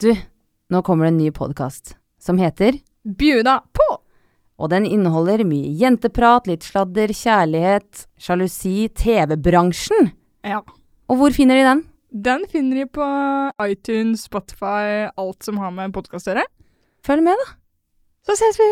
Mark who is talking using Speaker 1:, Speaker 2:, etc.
Speaker 1: Du, nå kommer det en ny podkast som heter
Speaker 2: Bjuda på!
Speaker 1: Og den inneholder mye jenteprat, litt sladder, kjærlighet, sjalusi, TV-bransjen.
Speaker 2: Ja.
Speaker 1: Og hvor finner de den?
Speaker 2: Den finner de på iTunes, Spotify, alt som har med podkast å gjøre.
Speaker 1: Følg med, da.
Speaker 2: Så ses vi!